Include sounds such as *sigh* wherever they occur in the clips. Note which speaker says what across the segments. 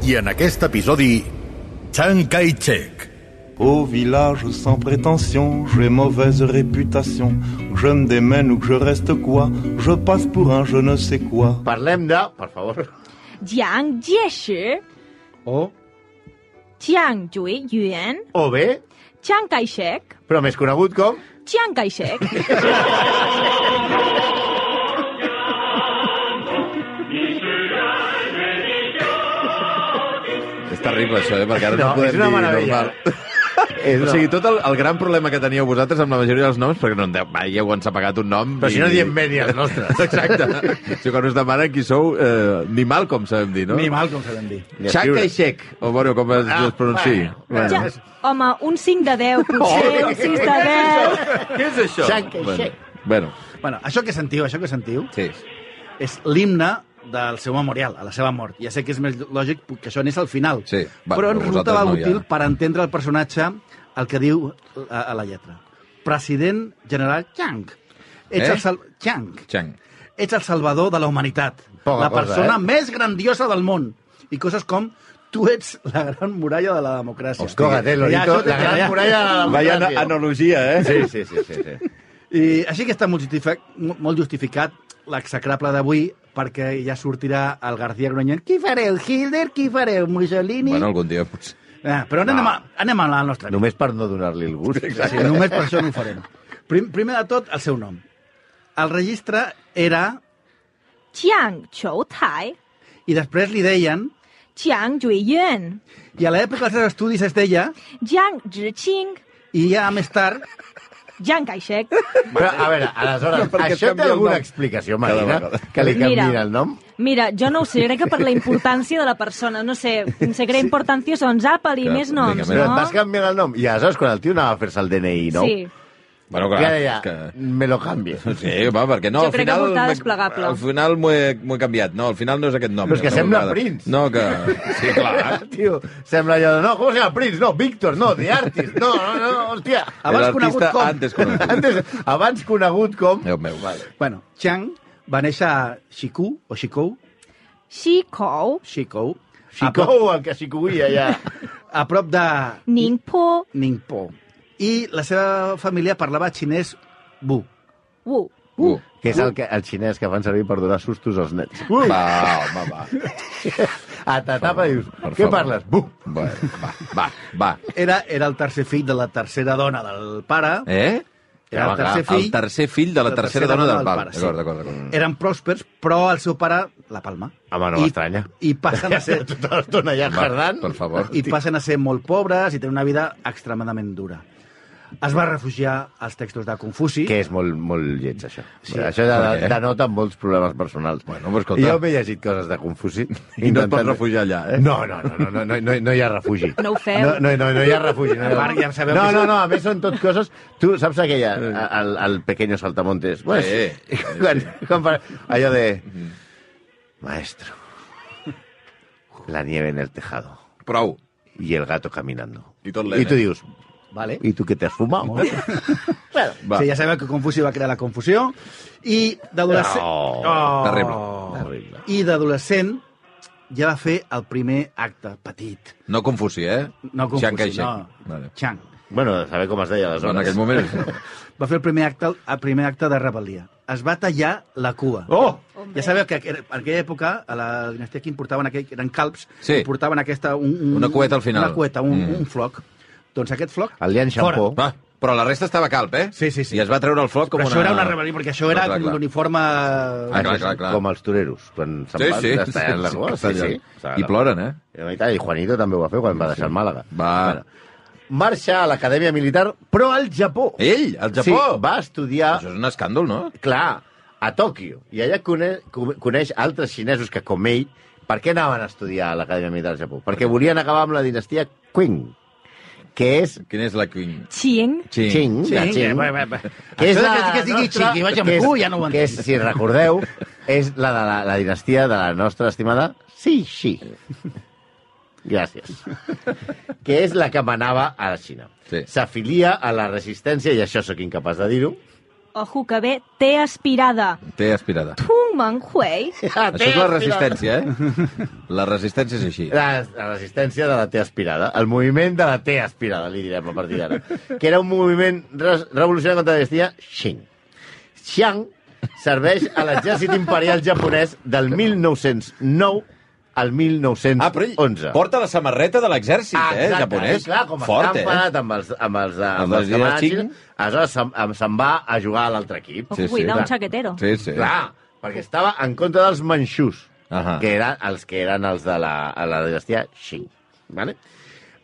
Speaker 1: I en aquest episodi, Chiang Kai-shek.
Speaker 2: Au village sans prétention, j'ai mauvaise réputation. Que Je me démène ou que je reste quoi Je passe pour un je ne sais quoi.
Speaker 3: Parlem de... Per favor.
Speaker 4: Jiang Jieshi,
Speaker 3: O.
Speaker 4: Jiang Jui Yuan,
Speaker 3: O bé,
Speaker 4: Chiang Kai-shek,
Speaker 3: però més conegut com...
Speaker 4: Chiang Kai-shek,
Speaker 5: És terrible, això, eh? Perquè ara no,
Speaker 3: No,
Speaker 5: no podem
Speaker 3: és una
Speaker 5: dir
Speaker 3: meravella.
Speaker 5: normal.
Speaker 3: És
Speaker 5: O sigui, tot el, el gran problema que teníeu vosaltres amb la majoria dels noms, perquè no en deu, mai heu ensapegat un nom...
Speaker 3: Però si no diem bé ni els nostres.
Speaker 5: Exacte. *laughs* si quan us demanen qui sou, eh, ni mal com sabem dir, no?
Speaker 6: Ni mal, com sabem dir.
Speaker 5: Xac i xec, o bueno, com es,
Speaker 3: Ah,
Speaker 5: es pronunciï.
Speaker 3: bueno, bueno.
Speaker 4: Ja, home, un 5 de 10, potser, un 6 de 10.
Speaker 5: Què és això?
Speaker 3: Xac i
Speaker 5: bueno,
Speaker 3: xec.
Speaker 5: bueno,
Speaker 6: Bueno, això que sentiu, això que sentiu,
Speaker 5: sí.
Speaker 6: és l'himne del seu memorial, a la seva mort. Ja sé que és més lògic que això anés al final,
Speaker 5: Sí, va,
Speaker 6: però ens
Speaker 5: però
Speaker 6: resultava
Speaker 5: vosaltres no,
Speaker 6: útil
Speaker 5: ja.
Speaker 6: per entendre el personatge el que diu a, a la lletra. President General Chiang. Ets
Speaker 5: Eh?
Speaker 6: el sal... Chiang.
Speaker 5: Xang.
Speaker 6: Ets el salvador de la humanitat.
Speaker 3: Poca
Speaker 6: la
Speaker 3: cosa,
Speaker 6: persona
Speaker 3: eh?
Speaker 6: més grandiosa del món. I coses com tu ets la gran muralla de la democràcia.
Speaker 3: Cógate,
Speaker 6: Ja,
Speaker 3: Lolito,
Speaker 6: això
Speaker 3: la gran
Speaker 6: t'agrada.
Speaker 3: muralla de la
Speaker 5: Vaya ana-
Speaker 3: democràcia.
Speaker 5: analogia, eh? Sí, sí, sí. sí, sí.
Speaker 6: I així que està molt justificat, molt justificat l'execrable d'avui, perquè ja sortirà el García Gronyent. Qui fareu, Hitler? Qui fareu, Mussolini?
Speaker 5: bueno, algun dia potser.
Speaker 6: ah, però anem, a, anem a la nostra.
Speaker 3: Només per no donar-li el gust.
Speaker 6: Sí, només per això no ho farem. Prim, primer de tot, el seu nom. El registre era,
Speaker 4: Chiang Chou Tai,
Speaker 6: i després li deien,
Speaker 4: Chiang Jui Yuan,
Speaker 6: i a l'època dels seus estudis es deia,
Speaker 4: Jiang Zhiqing,
Speaker 6: i ja més tard,
Speaker 4: Chiang Kai-shek.
Speaker 3: Però, a veure,
Speaker 5: *laughs*
Speaker 3: aleshores,
Speaker 5: Però per què
Speaker 3: això
Speaker 5: canvia
Speaker 3: té
Speaker 5: el
Speaker 3: alguna
Speaker 5: nom?
Speaker 3: explicació,
Speaker 5: Cada
Speaker 3: Marina?
Speaker 5: vegada.
Speaker 3: Que li canviïn
Speaker 4: Mira.
Speaker 3: el nom?
Speaker 4: Mira, jo no ho sé, crec que per la importància de la persona, no sé, se crea importància, són Zapal i
Speaker 5: Clar,
Speaker 4: més noms,
Speaker 5: mica
Speaker 3: Però et
Speaker 4: no?
Speaker 3: vas canviant el nom. I aleshores, quan el tio anava a fer-se el DNI, no?
Speaker 4: Sí.
Speaker 5: Bueno,
Speaker 3: I
Speaker 5: clar,
Speaker 3: ara ja,
Speaker 5: és que...
Speaker 3: me lo canvie.
Speaker 5: Sí, va, perquè no,
Speaker 4: Jo
Speaker 5: al
Speaker 4: crec que
Speaker 5: final...
Speaker 4: portada
Speaker 5: m'he-
Speaker 4: és plegable.
Speaker 5: Al final m'ho he, m'ho he canviat. No, al final no és aquest nom.
Speaker 3: Però és que
Speaker 5: No,
Speaker 3: sembla
Speaker 5: m'agrada.
Speaker 3: Prince.
Speaker 5: No, que... Sí, clar.
Speaker 3: *laughs* Tio, sembla allò de... No, com se llama? Prince, no, Víctor, no, The Artist, no, no, no, hòstia.
Speaker 6: *laughs* abans
Speaker 5: Era
Speaker 6: conegut
Speaker 5: artista
Speaker 6: com...
Speaker 5: Antes conegut.
Speaker 3: Antes, abans conegut com...
Speaker 5: Déu meu. Vale.
Speaker 6: Bueno, Chiang va néixer a Xikou, o Xikou,
Speaker 4: Shi Kou,
Speaker 6: Xikou, a prop,
Speaker 3: Xicou, el que xicuïa ja.
Speaker 6: a prop de
Speaker 4: Ning Po
Speaker 6: Ningpo. I la seva família parlava xinès Bu.
Speaker 4: Wu.
Speaker 5: Uh.
Speaker 3: Que és el, que, el xinès que fan servir per donar sustos als nens.
Speaker 5: Uh. Va, home, va.
Speaker 3: A ta tapa dius,
Speaker 5: Per
Speaker 3: què
Speaker 5: favor.
Speaker 3: parles? Buh!
Speaker 5: Bueno, va, va, va.
Speaker 6: Era, era el tercer fill de la tercera dona del pare.
Speaker 5: Eh?
Speaker 6: Era el tercer fill.
Speaker 5: El tercer fill de la, tercera, dona del pare.
Speaker 6: sí.
Speaker 5: D'acord, d'acord, d'acord.
Speaker 6: Eren pròspers, però el seu pare, la palma.
Speaker 3: Home, no
Speaker 6: I-
Speaker 3: m'estranya.
Speaker 6: I passen a
Speaker 3: *laughs*
Speaker 6: ser...
Speaker 3: Tota l'estona ja
Speaker 5: Va,
Speaker 3: jardant.
Speaker 5: Per favor.
Speaker 6: I passen a ser molt pobres i tenen una vida extremadament dura. Es va refugiar als textos de Confuci.
Speaker 3: Que és molt, molt lleig, això.
Speaker 6: Sí.
Speaker 3: Això de,
Speaker 5: Per què?
Speaker 3: denota molts problemes personals.
Speaker 5: Bueno, però escolta.
Speaker 3: Jo m'he llegit coses de Confuci.
Speaker 5: I no et pots
Speaker 3: Intentant-
Speaker 5: refugiar allà, eh?
Speaker 3: No, no, no, no, no, no, no, no hi ha refugi.
Speaker 4: No ho feu.
Speaker 3: No, no, no, no hi ha refugi. No, hi ha...
Speaker 5: *laughs*
Speaker 6: Marc, ja sabeu
Speaker 3: no,
Speaker 6: que-
Speaker 3: no, no, a més són tot coses... Tu saps aquella, a- el, el pequeño saltamontes? Bueno,
Speaker 5: Sí. Mm.
Speaker 3: Quan, quan fa... Allò de... Maestro, la nieve en el tejado
Speaker 5: Prou.
Speaker 3: y el gato caminando.
Speaker 5: I tot
Speaker 3: I
Speaker 5: l'N.
Speaker 3: tu dius,
Speaker 6: Vale.
Speaker 3: i tu que t'has fumat?
Speaker 5: *laughs*
Speaker 3: bueno,
Speaker 5: Va.
Speaker 6: Sí, ja sabeu que Confuci va crear la confusió. I d'adolescent...
Speaker 3: No.
Speaker 5: Terrible.
Speaker 3: Terrible.
Speaker 6: I d'adolescent ja va fer el primer acte petit.
Speaker 5: No Confuci, eh?
Speaker 6: No
Speaker 5: Chiang
Speaker 6: Confuci,
Speaker 5: Kai-shek.
Speaker 6: no.
Speaker 5: Vale.
Speaker 6: Chiang.
Speaker 3: bueno, a saber com es deia
Speaker 5: Però En
Speaker 3: aleshores.
Speaker 5: aquell moment...
Speaker 6: va fer el primer acte, el primer acte de rebel·lia. Es va tallar la cua.
Speaker 3: Oh!
Speaker 6: Ja sabeu que en aquella època, a la dinastia Qin portaven aquell, eren calps,
Speaker 5: Sí.
Speaker 6: i portaven aquesta... Un, un,
Speaker 5: Una cueta al final.
Speaker 6: Una cueta, un,
Speaker 5: Mm.
Speaker 6: mm. un floc. Doncs aquest floc...
Speaker 3: El Lian Shampoo.
Speaker 5: Va, però la resta estava calp, eh?
Speaker 6: Sí, sí, sí.
Speaker 5: I es va treure el floc com
Speaker 6: Però
Speaker 5: una...
Speaker 6: això era una rebel·lia, perquè això era
Speaker 5: Clar, clar,
Speaker 6: com
Speaker 5: clar.
Speaker 6: l'uniforme...
Speaker 5: Ah, clar, clar, clar.
Speaker 3: Com els toreros, quan se'n
Speaker 5: Sí,
Speaker 3: van,
Speaker 5: sí.
Speaker 3: es tallen la gola. Sí, sí.
Speaker 5: I ploren, eh?
Speaker 3: I tal, I Juanito també ho va fer quan va deixar el Màlaga.
Speaker 5: Va.
Speaker 3: Marxa a l'acadèmia militar, però al Japó.
Speaker 5: Ell, Eh, al Japó?
Speaker 3: Sí, va estudiar,
Speaker 5: Això és un escàndol, no?
Speaker 3: clar, a Tòquio. I allà coneix, coneix altres xinesos que, com ell, Per què anaven a estudiar a l'Acadèmia Militar del Japó? Perquè volien acabar amb la dinastia Qing, que és...
Speaker 5: Quina és la Queen?
Speaker 4: Xing.
Speaker 5: Sí.
Speaker 3: Qing, la
Speaker 6: eh,
Speaker 3: Qing,
Speaker 6: Que és la... Que, que digui nostra... xiqui, vaja amb
Speaker 3: que és-
Speaker 6: cul, ja no ho
Speaker 3: que
Speaker 6: entenc.
Speaker 3: és, si recordeu, és la de la, la dinastia de la nostra estimada Xixi. Gràcies. Que és la que manava a la Xina.
Speaker 5: Sí.
Speaker 3: S'afilia a la resistència, i això sóc incapaç de dir-ho.
Speaker 4: Ojo que bé, té aspirada.
Speaker 5: Té aspirada.
Speaker 4: Tung Meng Hui.
Speaker 5: Això és la resistència, eh? La resistència és així.
Speaker 3: La, la resistència de la T aspirada. El moviment de la T aspirada, li direm a partir d'ara. Que era un moviment res- revolucionari contra la dinastia Qing. Xiang serveix a l'exèrcit imperial japonès del 1909 al 1911.
Speaker 5: Ah, però ell porta la samarreta de l'exèrcit, eh,
Speaker 3: Exactament,
Speaker 5: japonès.
Speaker 3: Clar, com
Speaker 5: Fort,
Speaker 3: està
Speaker 5: eh?
Speaker 3: emparat amb els, amb els, eh, amb
Speaker 5: Amb
Speaker 3: els,
Speaker 5: les
Speaker 3: amb els
Speaker 5: Xing.
Speaker 3: aleshores se'n se va a jugar a l'altre equip.
Speaker 4: Ojo,
Speaker 5: Sí, sí.
Speaker 4: cuidar un
Speaker 3: Clar.
Speaker 4: xaquetero.
Speaker 5: Sí, sí.
Speaker 3: Clar, perquè estava en contra dels manxús,
Speaker 5: Ahà.
Speaker 3: que eren els que eren els de la, a la dinastia Xing. Vale?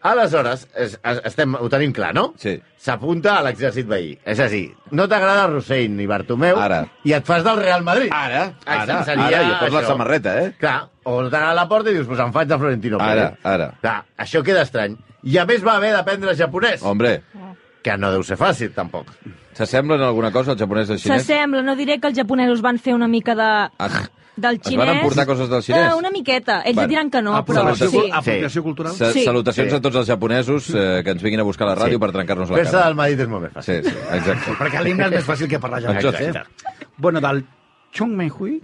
Speaker 3: Aleshores, es, es, estem, ho tenim clar, no?
Speaker 5: Sí.
Speaker 3: S'apunta a l'exèrcit veí. És a dir, no t'agrada Rossell ni Bartomeu
Speaker 5: Ara.
Speaker 3: i et fas del Real Madrid.
Speaker 5: Ara,
Speaker 3: Ai,
Speaker 5: ara,
Speaker 3: seria
Speaker 5: ara, i et poses la
Speaker 3: això.
Speaker 5: samarreta, eh?
Speaker 3: Clar, o no t'agrada la porta i dius, pues em faig de Florentino
Speaker 5: Ara,
Speaker 3: Pérez.
Speaker 5: ara.
Speaker 3: Clar, això queda estrany. I a més va haver d'aprendre japonès,
Speaker 5: Hombre,
Speaker 3: que no deu ser fàcil, tampoc.
Speaker 5: s'assemblen en alguna cosa els japonesos i els xinès?
Speaker 4: S'assembla, no diré que els japonesos van fer una mica de...
Speaker 5: Ah,
Speaker 4: del
Speaker 5: van
Speaker 4: xinès.
Speaker 5: emportar coses del xinès?
Speaker 4: Eh, una miqueta. Ells
Speaker 5: Bueno,
Speaker 4: et diran que no, però
Speaker 5: aprovació-
Speaker 4: sí.
Speaker 6: Apropiació cultural.
Speaker 5: sa-
Speaker 4: Sí.
Speaker 5: Salutacions
Speaker 3: Sí.
Speaker 5: a tots els japonesos eh, que ens vinguin a buscar a la ràdio per trencar-nos la
Speaker 3: Fer-se
Speaker 5: cara.
Speaker 3: del Madrid és molt més fàcil.
Speaker 5: Sí, sí, exacte.
Speaker 6: Perquè l'himne és més fàcil que parlar
Speaker 3: Doncs
Speaker 6: japonès,
Speaker 5: Exacte.
Speaker 6: eh? Bueno, del Chung Menhui,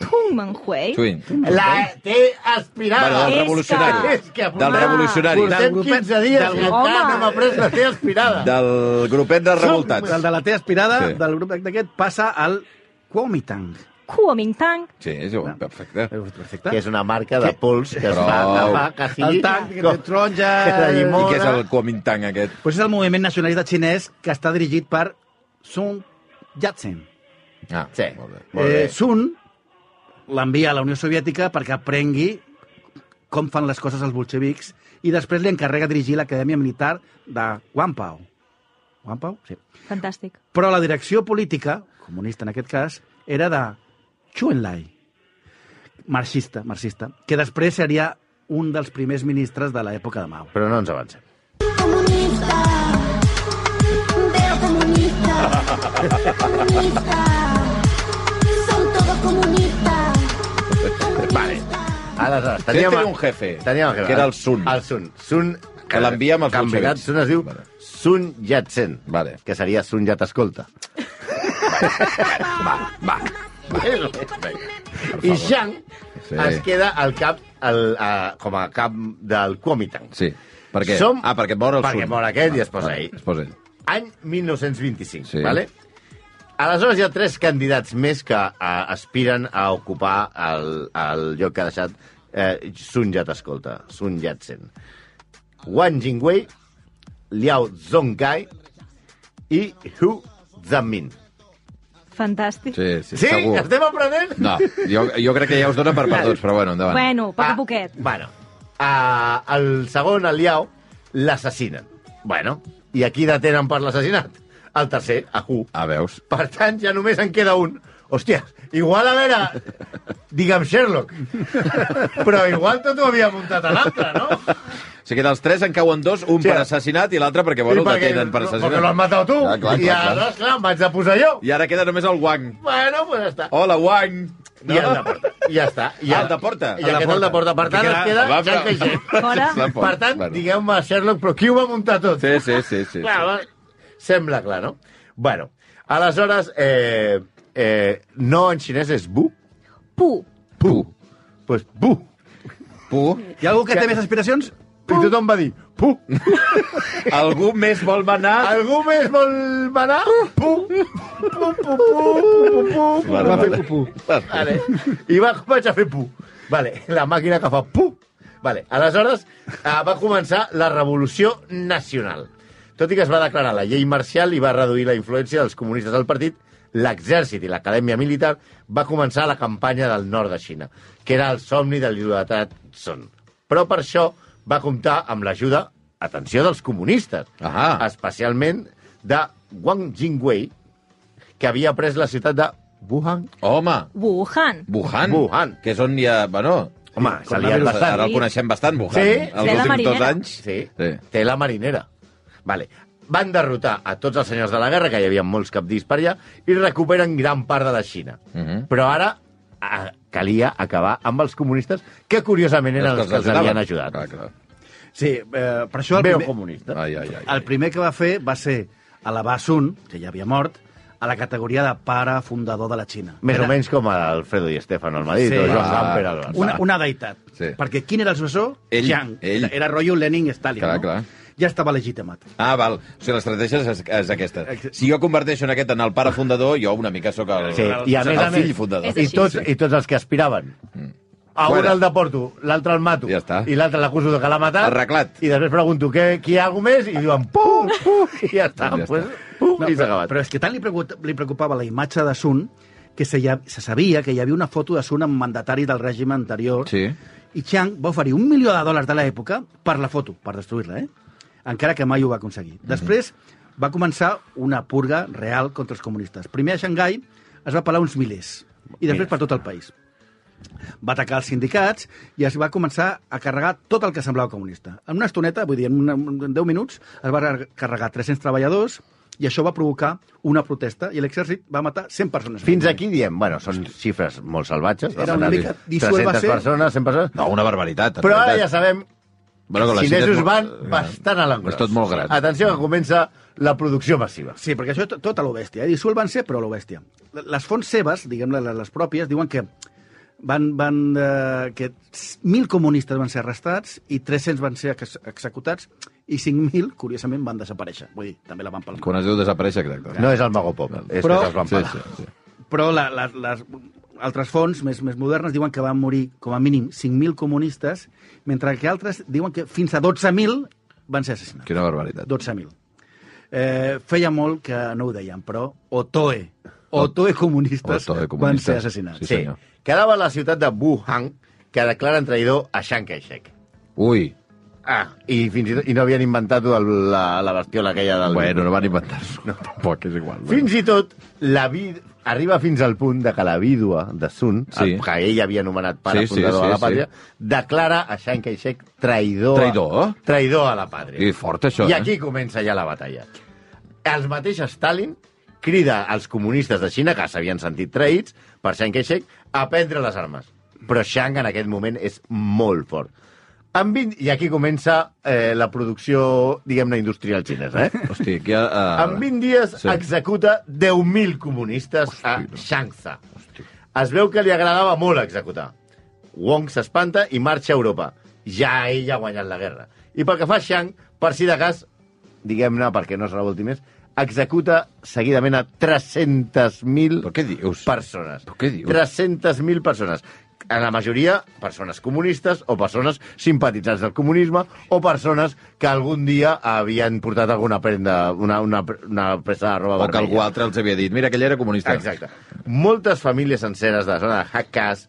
Speaker 4: Tung Meng Hui.
Speaker 5: Twin.
Speaker 3: La té aspirada.
Speaker 5: Bueno, del
Speaker 4: És
Speaker 5: revolucionari.
Speaker 4: que-
Speaker 3: És que,
Speaker 5: Del
Speaker 3: home,
Speaker 5: revolucionari.
Speaker 3: Portem 15 dies i
Speaker 6: Del-
Speaker 3: encara
Speaker 4: Home.
Speaker 3: no m'ha pres la té aspirada.
Speaker 5: Del grupet de revoltats.
Speaker 6: del de la T aspirada,
Speaker 5: Sí.
Speaker 6: del grup d'aquest, passa al Kuomintang.
Speaker 4: Kuomintang.
Speaker 5: Sí, és perfecte.
Speaker 6: Perfecte.
Speaker 3: Que és una marca de pols que es
Speaker 5: Prou.
Speaker 3: va agafar que sigui...
Speaker 6: El tanc de taronja...
Speaker 3: de
Speaker 5: I
Speaker 3: llimona.
Speaker 5: què és el Kuomintang aquest?
Speaker 6: Pues és el moviment nacionalista xinès que està dirigit per Sun Yat-sen.
Speaker 5: Ah,
Speaker 3: Sí.
Speaker 5: molt bé.
Speaker 3: Molt bé.
Speaker 6: Eh, Sun l'envia a la Unió Soviètica perquè aprengui com fan les coses els bolxevics i després li encarrega dirigir l'Acadèmia Militar de Wampau. Wampau? Sí.
Speaker 4: Fantàstic.
Speaker 6: Però la direcció política, comunista en aquest cas, era de Chu Enlai, marxista, marxista, que després seria un dels primers ministres de l'època de Mao.
Speaker 3: Però no ens avancem.
Speaker 7: comunista. Veo comunista. Comunista. Son todos comunistas.
Speaker 3: Vale.
Speaker 5: Teníem,
Speaker 3: Aleshores, Ah, teníem...
Speaker 5: tenia un jefe,
Speaker 3: Teníem
Speaker 5: que era el Sun.
Speaker 3: El Sun. Sun
Speaker 5: Que l'envia amb els
Speaker 3: que en veritat
Speaker 5: bolxevics.
Speaker 3: Sun es diu
Speaker 5: Vale.
Speaker 3: Sun Yat-sen.
Speaker 5: Vale.
Speaker 3: Que seria Sun Yat Escolta. *laughs*
Speaker 5: Va.
Speaker 3: I Shang
Speaker 5: Sí.
Speaker 3: es queda al cap, al, a, com a cap del Kuomintang.
Speaker 5: Sí. Per què?
Speaker 3: Som-
Speaker 5: Ah, perquè mor el
Speaker 3: perquè
Speaker 5: Sun.
Speaker 3: mor aquest i es posa
Speaker 5: va,
Speaker 3: ell.
Speaker 5: Es posa ell.
Speaker 3: Any 1925,
Speaker 5: Sí.
Speaker 3: sí. vale? Aleshores hi ha tres candidats més que eh, aspiren a ocupar el, el lloc que ha deixat eh, Sun Yat, escolta, Sun Yat-sen. Wang Jingwei, Liao Zongkai i Hu Zamin.
Speaker 4: Fantàstic.
Speaker 5: Sí, sí,
Speaker 3: Sí?
Speaker 5: segur.
Speaker 3: Estem aprenent?
Speaker 5: No, jo, jo crec que ja us dona per perduts, però bueno, endavant.
Speaker 4: Bueno, poc
Speaker 3: Ah,
Speaker 4: a poquet.
Speaker 3: Bueno, a, el segon, el Liao, l'assassinen. Bueno, i aquí detenen per l'assassinat. El tercer, a Hu.
Speaker 5: Ah, veus?
Speaker 3: Per tant, ja només en queda un. Hòstia, igual a veure... Digue'm Sherlock. Però igual tot ho havia muntat a l'altre, no?
Speaker 5: O sigui, dels tres en cauen dos, un
Speaker 3: Sí.
Speaker 5: per assassinat i l'altre perquè, bueno,
Speaker 3: Sí,
Speaker 5: el detenen per
Speaker 3: Perquè l'has
Speaker 5: assassinat.
Speaker 3: matat tu.
Speaker 5: Ah, clar, clar,
Speaker 3: I
Speaker 5: clar.
Speaker 3: aleshores, clar, em vaig de posar jo.
Speaker 5: I ara queda només el Wang.
Speaker 3: Bueno, doncs pues ja està.
Speaker 5: Hola, Wang!
Speaker 3: I el deporta. I ja està. I
Speaker 5: Oh, Ah, el deporta.
Speaker 3: I
Speaker 5: El
Speaker 3: aquest el
Speaker 5: deporta.
Speaker 3: deporta. Per tant, es queda
Speaker 5: Va,
Speaker 3: Jean
Speaker 5: però-
Speaker 3: Caixet.
Speaker 5: *laughs*
Speaker 4: Fora.
Speaker 3: Per tant, digueu-me Sherlock, però qui ho va muntar tot?
Speaker 5: Sí, sí, sí. sí,
Speaker 3: Clar,
Speaker 5: sí.
Speaker 3: va- Sembla clar, no? Bueno, aleshores, eh, eh, no en xinès és bu,
Speaker 4: Pu.
Speaker 5: Pu.
Speaker 3: doncs bu.
Speaker 5: Pu.
Speaker 6: Hi ha algú que té més aspiracions?
Speaker 3: I tothom va dir, pu.
Speaker 5: Algú més vol manar?
Speaker 3: Algú més vol manar? Pu. Pu, pu, pu, pu, pu, pu.
Speaker 5: Vale,
Speaker 3: Va fer
Speaker 5: vale.
Speaker 3: pu, pu. Vale. I va, vaig a fer pu. Vale, la màquina que fa pu. Vale, aleshores eh, va començar la Revolució Nacional. Tot i que es va declarar la llei marcial i va reduir la influència dels comunistes al partit, l'exèrcit i l'acadèmia militar va començar la campanya del nord de Xina, que era el somni de l'il·ludatrat Son. Però per això va comptar amb l'ajuda, atenció, dels comunistes,
Speaker 5: Ahà.
Speaker 3: especialment de Wang Jingwei, que havia pres la ciutat de Wuhan.
Speaker 5: Home,
Speaker 4: Wuhan.
Speaker 5: Wuhan.
Speaker 3: Wuhan.
Speaker 5: Que és on hi ha... Bueno, Home,
Speaker 3: Sí,
Speaker 5: se li ha
Speaker 3: coronavirus.
Speaker 5: bastant. Ara
Speaker 4: Sí.
Speaker 5: el coneixem bastant, Wuhan.
Speaker 3: Sí.
Speaker 5: Els
Speaker 4: Té la
Speaker 5: últims dos
Speaker 4: marinera.
Speaker 5: anys.
Speaker 3: Sí,
Speaker 5: sí.
Speaker 3: sí. té la marinera. Vale. Van derrotar a tots els senyors de la guerra, que hi havia molts capdis per allà, i recuperen gran part de la Xina.
Speaker 5: Mhm.
Speaker 3: Però ara a, calia acabar amb els comunistes, que curiosament eren els que els
Speaker 5: ajudaven.
Speaker 3: havien ajudat.
Speaker 5: Clar, Ah, clar.
Speaker 6: Sí, eh, per això... el
Speaker 3: Veu
Speaker 6: primer-
Speaker 3: comunista.
Speaker 5: Ai, ai, ai.
Speaker 6: El primer que va fer va ser elevar Sun, que ja havia mort, a la categoria de pare fundador de la Xina.
Speaker 3: Més
Speaker 6: Era
Speaker 3: o menys com Alfredo i Estefano al Madrid,
Speaker 6: Sí.
Speaker 3: o Joan
Speaker 5: Clar.
Speaker 3: Gamper al Barça.
Speaker 6: Una, una deïtat.
Speaker 5: Sí.
Speaker 6: Sí. Perquè quin era el successor?
Speaker 5: Ell,
Speaker 6: Jiang.
Speaker 5: ell.
Speaker 6: Era, era rotllo Lenin i Stalin.
Speaker 5: Clar,
Speaker 6: no?
Speaker 5: clar.
Speaker 6: Ja estava legitimat.
Speaker 5: Ah, val. O sigui, l'estratègia és, és aquesta. Si jo converteixo en aquest en el pare fundador, jo una mica sóc el,
Speaker 3: Sí, i a
Speaker 5: el,
Speaker 3: més a més,
Speaker 5: fill fundador.
Speaker 3: i tots, i tots els que aspiraven. A un
Speaker 5: Fuera.
Speaker 3: el deporto, l'altre el mato,
Speaker 5: Ja està.
Speaker 3: i l'altre l'acuso de que l'ha matat.
Speaker 5: Arreglat.
Speaker 3: I després pregunto, què, qui hi ha algú més? I diuen,
Speaker 5: *laughs*
Speaker 3: pum, pum, i ja està.
Speaker 5: Ja
Speaker 3: Ja pues, pum, no, i s'ha
Speaker 6: però,
Speaker 3: acabat.
Speaker 6: però és que tant li, preocup, li preocupava la imatge de Sun que se, ja, se sabia que hi havia una foto de Sun amb mandatari del règim anterior
Speaker 5: Sí.
Speaker 6: i Chiang va oferir un milió de dòlars de l'època per la foto, per destruir-la, eh? encara que mai ho va aconseguir. Després va començar una purga real contra els comunistes. Primer a Xangai es va pelar uns milers i després per tot el país. Va atacar els sindicats i es va començar a carregar tot el que semblava comunista. En una estoneta, vull dir, en, una, en 10 minuts, es va carregar 300 treballadors i això va provocar una protesta i l'exèrcit va matar 100 persones.
Speaker 3: Fins aquí diem, bueno, són xifres molt salvatges.
Speaker 6: Era una
Speaker 3: demanar
Speaker 6: mica
Speaker 3: 300
Speaker 6: dissuelva-se.
Speaker 3: persones, 100 persones.
Speaker 5: No, una barbaritat. en
Speaker 3: Però ara
Speaker 5: realitat.
Speaker 3: ja sabem
Speaker 5: Bueno,
Speaker 3: que
Speaker 5: que la
Speaker 3: els
Speaker 5: Xina és
Speaker 3: xinesos
Speaker 5: molt-
Speaker 3: van bastant a l'engròs.
Speaker 5: És tot molt gran.
Speaker 3: Atenció que comença la producció massiva.
Speaker 6: Sí, perquè això és to- tot a lo bèstia. Eh? Dissolvan ser, però a lo bèstia. Les fonts seves, diguem-ne, les- les pròpies, diuen que van, van, eh, que mil comunistes van ser arrestats i 300 van ser ex- executats i 5.000, curiosament, van desaparèixer. Vull dir, també la van pel
Speaker 5: Quan es diu desaparèixer, exacte.
Speaker 3: No és el Magopop,
Speaker 6: Però-
Speaker 3: és Però... que es van
Speaker 5: Sí,
Speaker 3: pagar.
Speaker 5: sí, sí.
Speaker 6: Però la, la, les altres fonts més, més modernes diuen que van morir com a mínim 5.000 comunistes, mentre que altres diuen que fins a 12.000 van ser assassinats.
Speaker 5: Quina barbaritat.
Speaker 6: 12.000. Eh, feia molt que no ho deien, però OTOE, OTOE comunistes,
Speaker 5: OTOE
Speaker 6: van
Speaker 5: comunistes.
Speaker 6: ser assassinats.
Speaker 5: Sí,
Speaker 3: Sí,
Speaker 5: senyor.
Speaker 3: Quedava la ciutat de Wuhan, que declaren traïdor a Chiang Kai-shek.
Speaker 5: Ui,
Speaker 3: Ah, i fins i tot i no havien inventat el, la, la bestiola aquella del...
Speaker 5: bueno, no van inventar-s'ho. No. Tampoc, és igual.
Speaker 3: Fins i tot, la vi... arriba fins al punt de que la vídua de Sun,
Speaker 5: Sí.
Speaker 3: sí. el, que ell havia anomenat pare
Speaker 5: Sí,
Speaker 3: sí,
Speaker 5: sí,
Speaker 3: fundador
Speaker 5: sí,
Speaker 3: sí, sí, de la
Speaker 5: sí.
Speaker 3: pàtria, declara a Chiang Kai-shek traïdor,
Speaker 5: Traïdor?
Speaker 3: A... traïdor a la pàtria.
Speaker 5: I fort, això,
Speaker 3: I
Speaker 5: eh?
Speaker 3: aquí comença ja la batalla. El mateix Stalin crida als comunistes de Xina, que s'havien sentit traïts per Chiang Kai-shek, a prendre les armes. Però Chiang en aquest moment és molt fort. En 20... I aquí comença eh, la producció, diguem-ne, industrial xinesa. Eh?
Speaker 5: Hosti, aquí... Uh...
Speaker 3: En 20 dies
Speaker 5: Sí.
Speaker 3: sí. executa 10.000 comunistes a Shanghai. Es veu que li agradava molt executar. Wong s'espanta i marxa a Europa. Ja ell ha guanyat la guerra. I pel que fa a Shang, per si de cas, diguem-ne, perquè no es revolti més, executa seguidament a 300.000
Speaker 5: Però què dius?
Speaker 3: persones.
Speaker 5: Però què dius?
Speaker 3: 300.000 persones. En la majoria, persones comunistes o persones simpatitzants del comunisme o persones que algun dia havien portat alguna prenda, una, una, una presa de roba
Speaker 5: O que
Speaker 3: vermella.
Speaker 5: algú altre els havia dit, mira, aquell era comunista.
Speaker 3: Exacte. Moltes famílies senceres de la zona de Hakas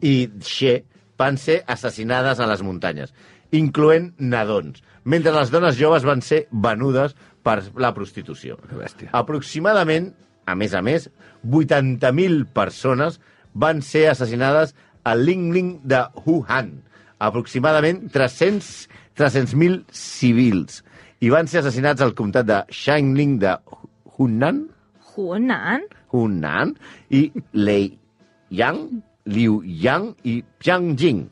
Speaker 3: i She van ser assassinades a les muntanyes, incloent nadons, mentre les dones joves van ser venudes per la prostitució.
Speaker 5: Que bèstia.
Speaker 3: Aproximadament, a més a més, 80.000 persones van ser assassinades a Lingling de Wuhan. Aproximadament 300 300.000 civils. I van ser assassinats al comtat de Shangling de Hunan,
Speaker 4: Hunan?
Speaker 3: Hunan i Lei Yang, Liu Yang i Jiang Jing.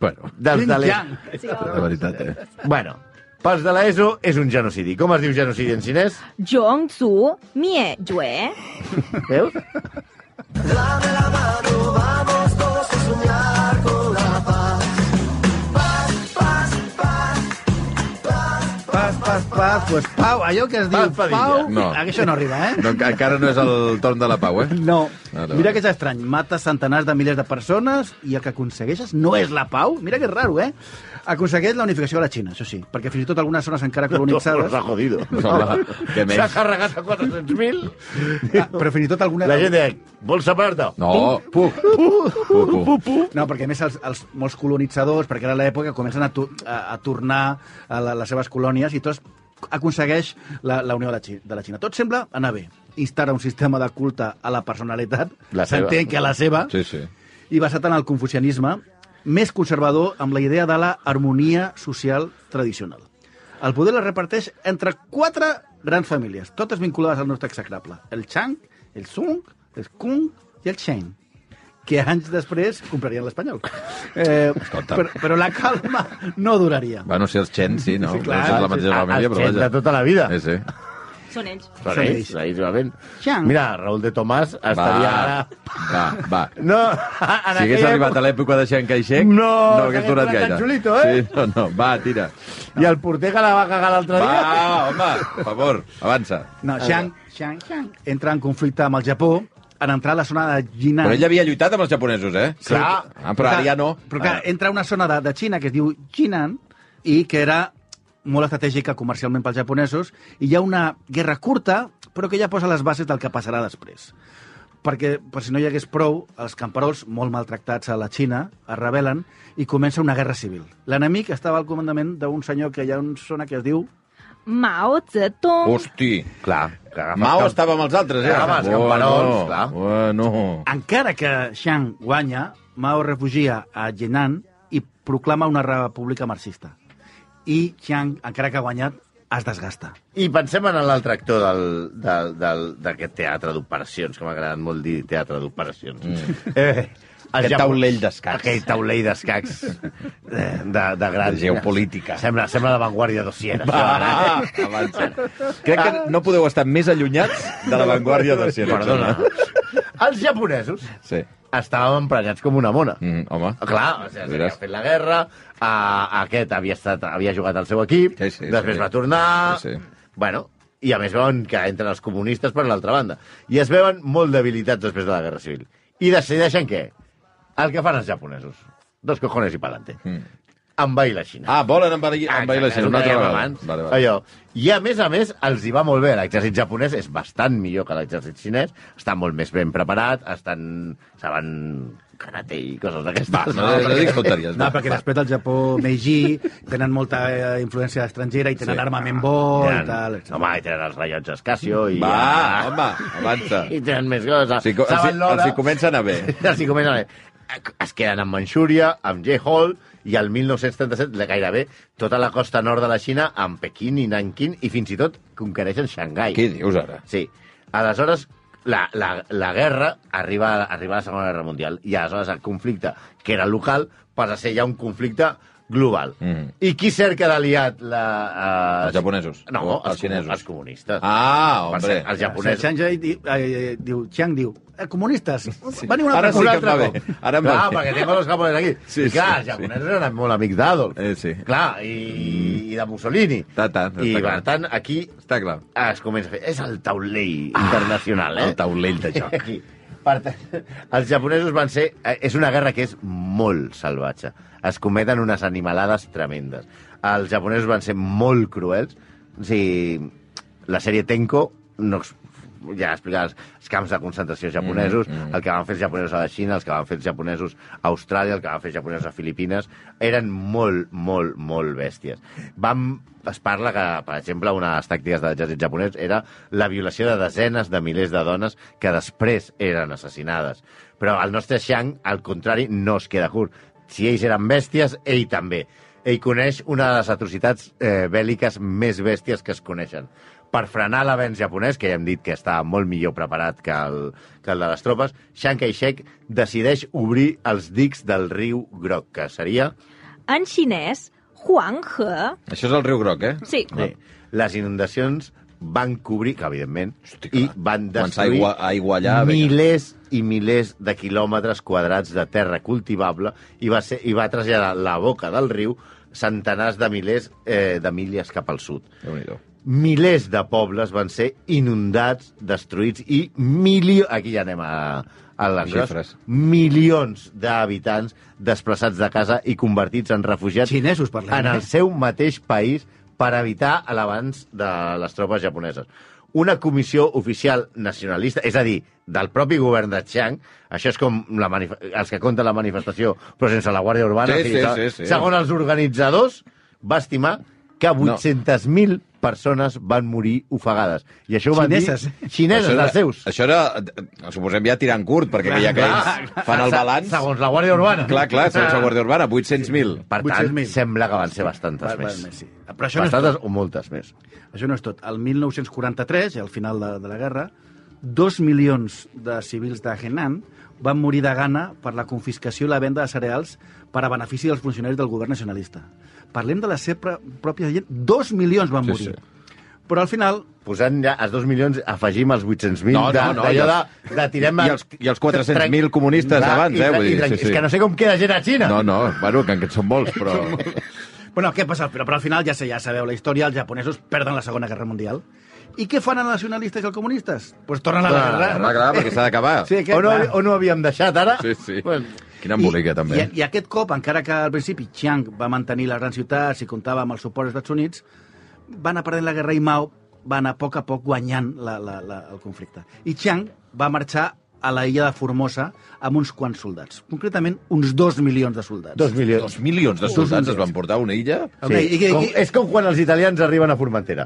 Speaker 5: Bueno,
Speaker 3: Dels de l'ESO.
Speaker 4: Sí,
Speaker 5: de veritat, eh?
Speaker 3: Bueno, pels de l'ESO és un genocidi. Com es diu genocidi en xinès?
Speaker 4: Zhongzu Mie Jue.
Speaker 3: Veus?
Speaker 6: Pas, pas, pas, pues pau, allò que es diu
Speaker 3: Pau Padilla.
Speaker 6: pau,
Speaker 5: No.
Speaker 6: això no arriba, eh?
Speaker 5: No, enca- encara no és el torn de la pau, eh?
Speaker 6: No.
Speaker 5: Vale,
Speaker 6: Mira
Speaker 5: vale.
Speaker 6: que és estrany. Mates centenars de milers de persones i el que aconsegueixes no és la pau. Mira que és raro, eh? Aconsegueix la unificació de la Xina, això sí, perquè fins i tot algunes zones encara colonitzades...
Speaker 3: S'ha
Speaker 5: *laughs*
Speaker 3: jodido.
Speaker 5: Home, què més?
Speaker 3: S'ha carregat a 400.000.
Speaker 6: Ah, però fins i tot alguna...
Speaker 3: La gent deia, vols separar-te?
Speaker 5: No, puc. Puc, puc.
Speaker 6: No, perquè a més els, els, molts colonitzadors, perquè era l'època que comencen a, tu, a, a tornar a la, les seves colònies i tots aconsegueix la, la unió de la, Xi- de la Xina. Tot sembla anar bé. Instaura un sistema de culte a la personalitat,
Speaker 3: La seva.
Speaker 6: s'entén que a la seva,
Speaker 5: Sí, sí.
Speaker 6: i basat en el confucianisme, més conservador amb la idea de la harmonia social tradicional. El poder la reparteix entre quatre grans famílies, totes vinculades al nostre execrable. El Chang, el Sung, el Kung i el Cheng que anys després comprarien l'Espanyol. Eh, però, però la calma no duraria.
Speaker 5: Bueno, si els Chen, sí, no?
Speaker 6: Sí, clar,
Speaker 5: no és la
Speaker 6: sí,
Speaker 5: mateixa família, però
Speaker 3: de
Speaker 5: vaja.
Speaker 3: tota la vida.
Speaker 5: Sí, sí.
Speaker 4: Són ells.
Speaker 3: Són
Speaker 6: Són
Speaker 3: ells,
Speaker 6: ells.
Speaker 3: ells, realment.
Speaker 6: Xang.
Speaker 3: Mira, Raül de Tomàs estaria ara...
Speaker 5: va, va.
Speaker 3: No, *laughs* en
Speaker 5: Si hagués
Speaker 3: aquella
Speaker 5: arribat a l'època de Chiang Kai-shek, no
Speaker 3: No,
Speaker 5: hagués
Speaker 3: s'hagués
Speaker 5: durat
Speaker 3: donat
Speaker 5: gaire.
Speaker 3: tan xulito, eh?
Speaker 5: Sí, no, no, va, tira.
Speaker 3: I el porter que la va cagar l'altre dia...
Speaker 5: Va, home, per favor, avança.
Speaker 3: Ah.
Speaker 6: No, Shang, Shang, Shang entra en conflicte amb el Japó en entrar a la zona de Jinan.
Speaker 5: Però ell havia lluitat amb els japonesos, eh? Ah, però ara ja no.
Speaker 6: Però clar,
Speaker 5: Ah.
Speaker 6: entra a una zona de, de Xina que es diu Jinan i que era molt estratègica comercialment pels japonesos i hi ha una guerra curta però que ja posa les bases del que passarà després. Perquè, per si no hi hagués prou, els camperols, molt maltractats a la Xina, es rebel·len i comença una guerra civil. L'enemic estava al comandament d'un senyor que hi ha una zona que es diu
Speaker 4: Mao Zedong.
Speaker 5: Hosti.
Speaker 3: Clar,
Speaker 5: Mao estava amb els altres, eh?
Speaker 3: Clar, amb els camperols, clar.
Speaker 5: Bueno.
Speaker 6: Encara que Chiang guanya, Mao es refugia a Jinan i proclama una república marxista. I Chiang, encara que ha guanyat, es desgasta.
Speaker 3: I pensem en l'altre actor del- del- del- d'aquest teatre d'operacions, que m'ha agradat molt dir teatre d'operacions. Mm. Eh, el
Speaker 5: Aquest taulell d'escacs.
Speaker 3: Aquell taulell d'escacs eh, de, de gran...
Speaker 5: De geopolítica.
Speaker 3: Sembla, sembla l'avantguàrdia dossier.
Speaker 5: Va, Ah, avança. Crec
Speaker 3: Ah.
Speaker 5: que no podeu estar més allunyats de l'avantguàrdia de Sierra.
Speaker 3: Perdona. Els japonesos
Speaker 5: Sí.
Speaker 3: estàvem emprenyats com una mona.
Speaker 5: Mm, home.
Speaker 3: Clar, o sigui, havia
Speaker 5: Veuràs.
Speaker 3: fet la guerra, a, a aquest havia, estat, havia jugat al seu equip,
Speaker 5: Sí, sí,
Speaker 3: després
Speaker 5: sí.
Speaker 3: va tornar...
Speaker 5: Sí, sí.
Speaker 3: Bueno, i a més veuen que entren els comunistes per l'altra banda. I es veuen molt debilitats després de la guerra civil. I decideixen què? El que fan els japonesos. Dos cojones i pa'lante. Mm. Envair la Xina.
Speaker 5: Ah, volen envair,
Speaker 3: Ah,
Speaker 5: envair la
Speaker 3: exacte,
Speaker 5: Xina. Una
Speaker 3: és
Speaker 5: altra
Speaker 3: el que dèiem
Speaker 5: vegada.
Speaker 3: abans.
Speaker 5: Vale, vale.
Speaker 3: Allò. I a més a més, els hi va molt bé. L'exèrcit japonès és bastant millor que l'exèrcit xinès, està molt més ben preparat, estan... saben karate i coses d'aquestes.
Speaker 5: No, no, no dic tonteries.
Speaker 6: No,
Speaker 5: va.
Speaker 6: perquè després del Japó, Meiji, tenen molta eh, influència estrangera i tenen
Speaker 5: Sí.
Speaker 6: sí. armament bo
Speaker 3: Tenen-
Speaker 6: i tal. etc.
Speaker 3: Home, i tenen els rellotges Casio i...
Speaker 5: Va, home, avança.
Speaker 3: *laughs* I tenen més coses.
Speaker 5: Si, co-
Speaker 3: Saben
Speaker 5: els, hi-
Speaker 3: l'hora.
Speaker 5: els hi comencen a bé.
Speaker 3: *laughs* Els hi comencen a bé. Es queden amb Manxúria, amb J-Hall, i al 1937, la- gairebé, tota la costa nord de la Xina, amb Pequín i Nanquín, i fins i tot conquereixen Xangai.
Speaker 5: Què dius ara?
Speaker 3: Sí. Aleshores, la, la, la guerra arriba, arriba a la Segona Guerra Mundial i aleshores el conflicte, que era local, passa a ser ja un conflicte global.
Speaker 5: Mhm.
Speaker 3: I qui cerca d'aliat? La, eh,
Speaker 5: Els japonesos?
Speaker 3: No,
Speaker 5: O
Speaker 3: els,
Speaker 5: els xinesos?
Speaker 3: Els comunistes.
Speaker 5: Ah,
Speaker 3: Per
Speaker 5: hombre.
Speaker 3: cert, Els japonesos.
Speaker 6: Chiang Jai diu, eh, eh, diu, Chiang diu, eh, comunistes, sí. veniu un
Speaker 5: Ara
Speaker 6: altre
Speaker 5: sí
Speaker 6: cop.
Speaker 5: que
Speaker 3: altre
Speaker 5: em va
Speaker 3: cop.
Speaker 5: bé. Ara em va
Speaker 3: clar,
Speaker 5: bé.
Speaker 3: perquè tengo los japonesos aquí.
Speaker 5: *laughs* Sí,
Speaker 3: I clar,
Speaker 5: sí,
Speaker 3: els japonesos eren molt amics d'Adolf.
Speaker 5: Eh, sí. Mm.
Speaker 3: Clar, i, i de Mussolini.
Speaker 5: Ta, ta, ta,
Speaker 3: I,
Speaker 5: ta,
Speaker 3: per
Speaker 5: clar.
Speaker 3: tant, aquí
Speaker 5: Està clar.
Speaker 3: Ah, es comença a fer... És el taulell internacional, eh?
Speaker 5: Ah, El taulell de joc.
Speaker 3: Aquí. Per tant, els japonesos van ser... eh, És una guerra que és molt salvatge. Es cometen unes animalades tremendes. Els japonesos van ser molt cruels. O sigui, la sèrie Tenko no ex- ja explicava els, els camps de concentració japonesos, mm, mm. el que van fer els japonesos a la Xina, els que van fer els japonesos a Austràlia, el que van fer els japonesos a Filipines, eren molt, molt, molt bèsties. Vam, es parla que, per exemple, una de les tàctiques de l'exèrcit japonès era la violació de desenes de milers de dones que després eren assassinades. Però el nostre Shang, al contrari, no es queda curt. Si ells eren bèsties, ell també. Ell coneix una de les atrocitats eh, bèl·liques més bèsties que es coneixen. Per frenar l'avenç japonès, que ja hem dit que està molt millor preparat que el, que el de les tropes, Chiang Kai-shek decideix obrir els dics del riu Groc, que seria
Speaker 4: En xinès, Huang He.
Speaker 5: Això és el riu groc, eh?
Speaker 4: Sí.
Speaker 3: bé, les inundacions van cobrir, que evidentment,
Speaker 5: Hosti,
Speaker 3: i
Speaker 5: clar.
Speaker 3: van
Speaker 5: Començar
Speaker 3: destruir
Speaker 5: a aigua- a aiguallar, vinga.
Speaker 3: milers i milers de quilòmetres quadrats de terra cultivable i va, ser, i va traslladar la boca del riu centenars de milers eh, de milles cap al sud.
Speaker 5: Déu-n'hi-do.
Speaker 3: milers de pobles van ser inundats, destruïts i milions... Aquí ja anem a, a l'engròs.
Speaker 5: Xifres.
Speaker 3: Milions d'habitants desplaçats de casa i convertits en refugiats
Speaker 6: Xinesos, parlem,
Speaker 3: en
Speaker 6: eh?
Speaker 3: el seu mateix país per evitar l'avanç de les tropes japoneses. Una comissió oficial nacionalista, és a dir, del propi govern de Chiang, això és com la manif- els que compten la manifestació, però sense la Guàrdia Urbana,
Speaker 5: Sí,
Speaker 3: o sigui,
Speaker 5: sí,
Speaker 3: se-
Speaker 5: sí, sí.
Speaker 3: segons els organitzadors, va estimar que 800.000
Speaker 5: No.
Speaker 3: persones persones van morir ofegades. I això ho van
Speaker 6: Xineses.
Speaker 3: dir... Xineses,
Speaker 8: era,
Speaker 3: les seus.
Speaker 8: eh? això era,
Speaker 5: eh,
Speaker 8: suposem, ja tirant curt, perquè ja que ells fan el balanç...
Speaker 3: Segons la Guàrdia Urbana.
Speaker 8: Clar, clar, segons la Guàrdia Urbana, 800.000.
Speaker 3: Per tant,
Speaker 6: 800.000.
Speaker 3: sembla que van ser bastantes
Speaker 6: Va- va-
Speaker 3: més.
Speaker 6: sí. Però això no és
Speaker 3: Bastantes o moltes més.
Speaker 6: Això no és tot. El 1943, al final de, de la guerra, dos milions de civils de Henan van morir de gana per la confiscació i la venda de cereals per a benefici dels funcionaris del govern nacionalista. Parlem de la seva pròpia gent. Dos milions van
Speaker 5: Sí,
Speaker 6: morir. Però al final,
Speaker 3: Posant ja els dos milions, afegim els 800.000
Speaker 5: No, no,
Speaker 3: de-
Speaker 5: no,
Speaker 3: d'allò
Speaker 5: i
Speaker 3: de,
Speaker 5: els-
Speaker 3: de, tirem...
Speaker 5: i els- i els 400.000 comunistes
Speaker 3: Clar,
Speaker 5: abans,
Speaker 3: i
Speaker 5: eh,
Speaker 3: tra-
Speaker 5: vull
Speaker 3: i
Speaker 5: dir,
Speaker 3: tra-
Speaker 5: sí, sí.
Speaker 3: És que no sé com queda gent a Xina.
Speaker 5: No, no, bueno, que en són molts, però...
Speaker 6: Bueno, què passa? Però, però al final ja sé, ja sabeu la història, els japonesos perden la Segona Guerra Mundial. I què fan els nacionalistes i els comunistes? Doncs pues tornen a la guerra.
Speaker 5: Clar, clar, perquè s'ha d'acabar.
Speaker 6: Sí, que,
Speaker 3: O no,
Speaker 6: clar.
Speaker 3: o no havíem deixat, ara?
Speaker 5: Sí, sí.
Speaker 3: Bueno,
Speaker 5: Quina embolica, també.
Speaker 6: I, I aquest cop, encara que al principi Chiang va mantenir les grans ciutats i comptava amb el suport dels Estats Units, va anar perdent la guerra i Mao va anar a poc a poc guanyant la, la, la, el conflicte. I Chiang va marxar a la illa de Formosa amb uns quants soldats. Concretament, uns dos milions de soldats.
Speaker 3: dos milions.
Speaker 5: Dos milions de soldats es van portar a una illa?
Speaker 6: Sí. I, i, i,
Speaker 3: Com, és com quan els italians arriben a Formentera.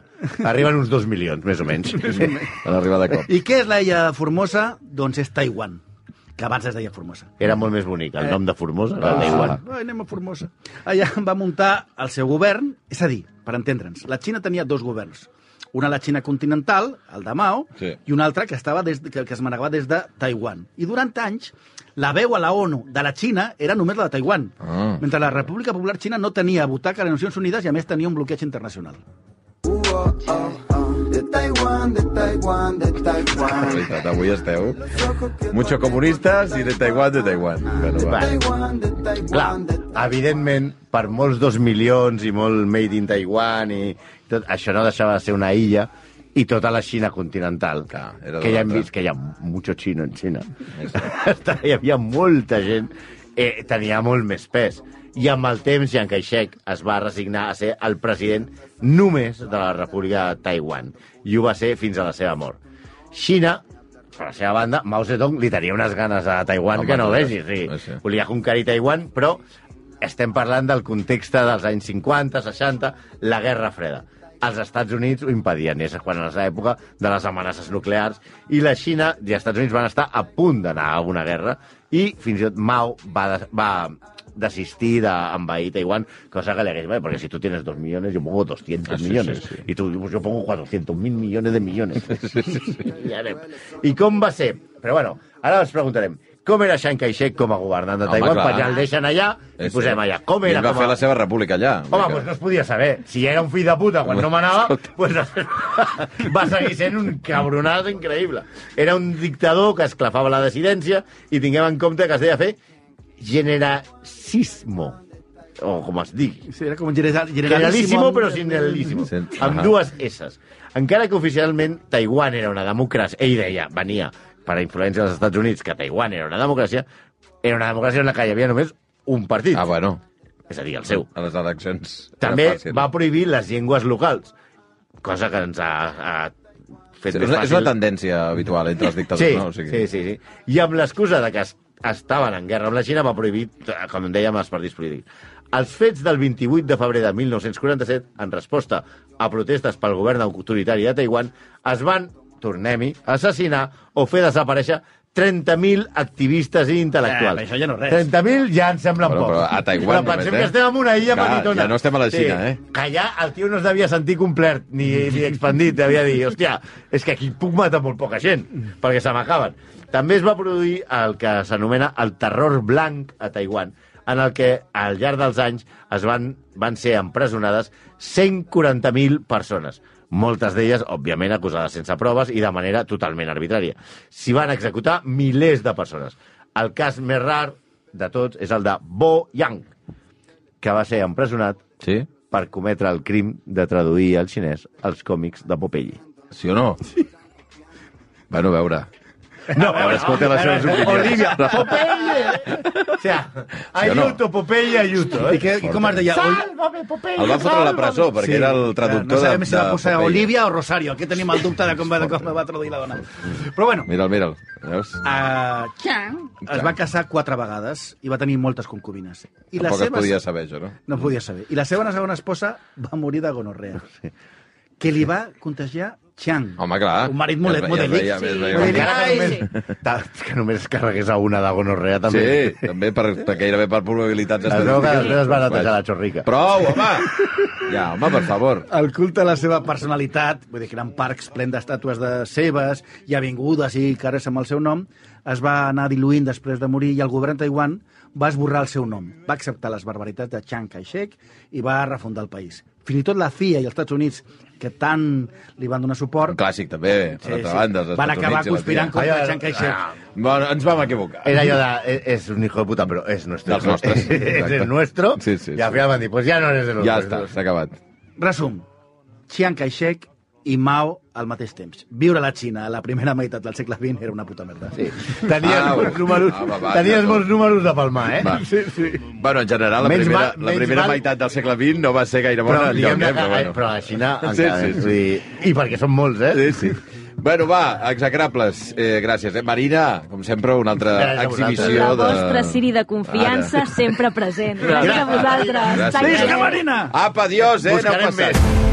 Speaker 3: Arriben uns dos milions, més o menys. *laughs*
Speaker 5: Van arribar
Speaker 6: *laughs*
Speaker 5: de cop.
Speaker 6: I què és la illa de Formosa? Doncs és Taiwan, que abans es deia Formosa.
Speaker 3: Era molt més bonic, el nom de Formosa,
Speaker 5: Ah.
Speaker 3: era el Taiwan.
Speaker 6: Ai, anem a Formosa. Allà *laughs* va muntar el seu govern, és a dir, per entendre'ns, la Xina tenia dos governs. Una la Xina continental, el de Mao,
Speaker 5: Sí.
Speaker 6: i una altra que, estava des, que, que es manegava des de Taiwan. I durant anys, la veu a la ONU de la Xina era només la de Taiwan,
Speaker 5: Ah.
Speaker 6: mentre la República Popular Xina no tenia butaca a les Nacions Unides i, a més, tenia un bloqueig internacional.
Speaker 9: de Taiwán, de Taiwán, de
Speaker 5: En
Speaker 9: Taiwán.
Speaker 5: realitat, avui esteu... Mucho comunistas i de Taiwan, de Taiwan.
Speaker 3: Ah,
Speaker 5: Bueno, va.
Speaker 3: Va.
Speaker 9: Taiwán, de
Speaker 3: Clar,
Speaker 9: Taiwán, de
Speaker 3: evidentment, per molts dos milions i molt made in Taiwan i tot, això no deixava de ser una illa i tota la Xina continental,
Speaker 5: Clar, era de
Speaker 3: que ja hem
Speaker 5: l'altre.
Speaker 3: vist que hi ha mucho xino en Xina. hi havia molta gent, eh, tenia molt més pes. I amb el temps, Chiang Kai-shek es va resignar a ser el president només de la República de Taiwan. I ho va ser fins a la seva mort. Xina, per la seva banda, Mao Zedong li tenia unes ganes a Taiwan
Speaker 5: Home,
Speaker 3: que no
Speaker 5: clar,
Speaker 3: vegis. Sí.
Speaker 5: sí.
Speaker 3: Volia conquerir Taiwan, però estem parlant del context dels anys 50, 60, la Guerra Freda. Els Estats Units ho impedien, és quan era l'època de les amenaces nuclears, i la Xina i els Estats Units van estar a punt d'anar a una guerra, i fins i tot Mao va, de- va desistir d'envair Taiwan, cosa que le hagués, "Vale, porque si tú tienes dos millones, yo pongo 200
Speaker 5: Ah, sí,
Speaker 3: millones,
Speaker 5: sí, sí.
Speaker 3: y tú, pues yo pongo 400 mil millones
Speaker 5: *laughs*
Speaker 3: de millones. *laughs* I anem. I com va ser? Però bueno, ara ens preguntarem, com era Chiang Kai-shek com a governant de
Speaker 5: Home,
Speaker 3: Taiwan?
Speaker 5: clar.
Speaker 3: Perquè el deixen allà i
Speaker 5: És
Speaker 3: posem
Speaker 5: cert.
Speaker 3: allà. Com
Speaker 5: I
Speaker 3: era
Speaker 5: ell va
Speaker 3: com
Speaker 5: fer
Speaker 3: a...
Speaker 5: la seva república allà.
Speaker 3: Home,
Speaker 5: Vull
Speaker 3: doncs no
Speaker 5: dir
Speaker 3: es podia saber. Si era un fill de puta quan
Speaker 5: *laughs*
Speaker 3: no manava, pues, *laughs* va seguir sent un cabronat increïble. Era un dictador que esclafava la dissidència i tinguem en compte que es deia fer generacismo, o com es digui.
Speaker 6: Sí, era com general,
Speaker 3: Generalísimo, però sin generalísimo.
Speaker 5: Sí.
Speaker 3: Amb
Speaker 5: Ahà.
Speaker 3: dues S. Encara que oficialment Taiwan era una democràcia, ell deia, venia per a influència dels Estats Units, que Taiwan era una democràcia, era una democràcia en la que hi havia només un
Speaker 5: que-
Speaker 3: partit,
Speaker 5: Ah, bueno,
Speaker 3: és a dir, el seu.
Speaker 5: a les eleccions... era
Speaker 3: També
Speaker 5: fàcil.
Speaker 3: va prohibir les llengües locals, cosa que ens ha, ha fet
Speaker 5: Sí, és,
Speaker 3: més
Speaker 5: una,
Speaker 3: fàcil.
Speaker 5: és una tendència habitual entre els dictadors,
Speaker 3: Sí,
Speaker 5: no? O
Speaker 3: sí, sí, sí. I amb l'excusa de que es- estaven en guerra amb la Xina va prohibir, eh, com dèiem, els partits polítics. Els fets del 28 de febrer de 1947, en resposta a protestes pel govern autoritari de Taiwan, es van, tornem-hi, assassinar o fer desaparèixer 30.000 activistes i intel·lectuals.
Speaker 6: Eh, però això ja no és res.
Speaker 3: 30.000 ja ens semblen
Speaker 5: Bueno,
Speaker 3: pocs.
Speaker 5: però a Taiwan
Speaker 3: Però
Speaker 5: només,
Speaker 3: pensem
Speaker 5: eh?
Speaker 3: que estem en una illa
Speaker 5: Clar,
Speaker 3: petitona.
Speaker 5: ja no estem a la Xina, eh?
Speaker 3: Que allà el tio no es devia sentir complert ni, ni expandit, devia dir, hòstia, és que aquí puc matar molt poca gent, perquè se m'acaben. També es va produir el que s'anomena el terror blanc a Taiwan, en el que al llarg dels anys es van, van ser empresonades 140.000 persones. Moltes d'elles, òbviament, acusades sense proves i de manera totalment arbitrària. S'hi van executar milers de persones. El cas més rar de tots és el de Bo Yang, que va ser empresonat
Speaker 5: Sí?
Speaker 3: per cometre el crim de traduir al xinès els còmics de Popelli.
Speaker 5: Sí o no? Sí. Bueno, a veure...
Speaker 3: No,
Speaker 5: veure, escolta les seves opinions.
Speaker 6: *laughs*
Speaker 3: Olivia, Popeye! O sea, aiuto, Popeye, aiuto.
Speaker 6: I, què, I com es deia? Ol-
Speaker 3: Sálvame, Popeye,
Speaker 5: El van fotre a la presó,
Speaker 3: sálvame.
Speaker 5: perquè era el
Speaker 6: Ah, no
Speaker 5: traductor de...
Speaker 6: sabem si va
Speaker 5: de
Speaker 6: posar
Speaker 5: Popeye.
Speaker 6: Olivia o Rosario, aquí tenim el dubte de com va, de com va traduir la dona. Però bueno,
Speaker 5: Mira'l, mira'l. Veus?
Speaker 6: a Chang es va casar quatre vegades i va tenir moltes concubines. I
Speaker 5: Tampoc
Speaker 6: seva...
Speaker 5: es podia saber, això, no?
Speaker 6: No podia saber. I la seva segona esposa va morir de gonorrea. que li va contagiar Chiang.
Speaker 5: Home, clar.
Speaker 6: Un marit molt,
Speaker 5: Ja es
Speaker 6: molt
Speaker 5: veia,
Speaker 6: delic.
Speaker 5: es veia, es veia.
Speaker 6: Molt delic.
Speaker 3: Encara
Speaker 4: Ai,
Speaker 3: que només, ta- que només carregués a una de gonorrea, també.
Speaker 5: Sí, també per, per gairebé per probabilitats
Speaker 3: Es veu que després es va netejar la
Speaker 5: Vaja.
Speaker 3: xorrica.
Speaker 5: Prou, home! Ja, home, per favor.
Speaker 6: El culte a la seva personalitat, vull dir que eren parcs plens d'estàtues de seves i avingudes i carrers amb el seu nom, es va anar diluint després de morir i el govern de Taiwan va esborrar el seu nom. Va acceptar les barbaritats de Chiang Kai-shek i va refundar el país. Fins i tot la CIA i els Estats Units, que tant li van donar suport,
Speaker 5: Un clàssic, també, per altra banda. dels
Speaker 6: van
Speaker 5: Estats
Speaker 6: acabar
Speaker 5: Units i la
Speaker 6: conspirant
Speaker 5: CIA.
Speaker 6: contra
Speaker 3: Ai, ai,
Speaker 6: Chiang Kai-shek.
Speaker 3: ah.
Speaker 5: Bueno, ens vam equivocar.
Speaker 3: Era allò de, "E- es un hijo de puta, pero es nuestro.
Speaker 5: Dels nostres,
Speaker 3: *laughs* es
Speaker 5: exacte.
Speaker 3: el nuestro.
Speaker 5: Sí, sí,
Speaker 3: I al
Speaker 5: sí.
Speaker 3: final van dir, pues ja no eres de
Speaker 5: Ja
Speaker 3: nosotros.
Speaker 5: està, s'ha acabat.
Speaker 6: Resum. Chiang Kai-shek i Mao al mateix temps. Viure a la Xina a la primera meitat del segle XX era una puta merda. Sí.
Speaker 3: Tenies
Speaker 5: Ah,
Speaker 3: molts
Speaker 5: va,
Speaker 3: números,
Speaker 5: va, va,
Speaker 3: tenies
Speaker 5: ja,
Speaker 3: molts
Speaker 5: tot.
Speaker 3: números de palmar, eh?
Speaker 5: Va.
Speaker 3: Sí, sí.
Speaker 5: Bueno, en general, la
Speaker 3: Menys
Speaker 5: primera,
Speaker 3: mal-
Speaker 5: la
Speaker 3: menys
Speaker 5: primera
Speaker 3: mal-
Speaker 5: meitat del segle XX no va ser gaire bona.
Speaker 3: Però,
Speaker 5: enlloc,
Speaker 3: diguem
Speaker 5: eh,
Speaker 3: que,
Speaker 5: bueno.
Speaker 3: però
Speaker 5: *laughs*
Speaker 3: la Xina
Speaker 5: Sí,
Speaker 3: encara...
Speaker 5: sí,
Speaker 3: és
Speaker 5: sí.
Speaker 3: a dir, I perquè són molts, eh?
Speaker 5: Sí, sí. Bueno, va, execrables. Eh, gràcies. Eh? Marina, com sempre, una altra
Speaker 3: Gràcies a vosaltres.
Speaker 5: exhibició
Speaker 4: La
Speaker 5: de...
Speaker 4: vostra Siri de confiança
Speaker 5: Ara.
Speaker 4: sempre present. Gràcies a vosaltres.
Speaker 5: Gràcies.
Speaker 4: Tant que
Speaker 6: Visca
Speaker 4: bé.
Speaker 6: Marina!
Speaker 5: Apa, adiós, eh? Aneu
Speaker 3: Buscarem
Speaker 5: passant.
Speaker 3: més.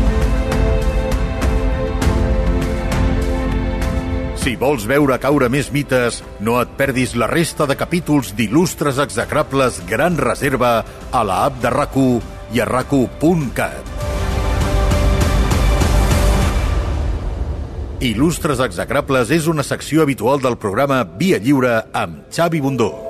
Speaker 1: Si vols veure caure més mites, no et perdis la resta de capítols d'il·lustres execrables Gran Reserva a la app de rac i a rac1.cat. Il·lustres execrables és una secció habitual del programa Via Lliure amb Xavi Bundó.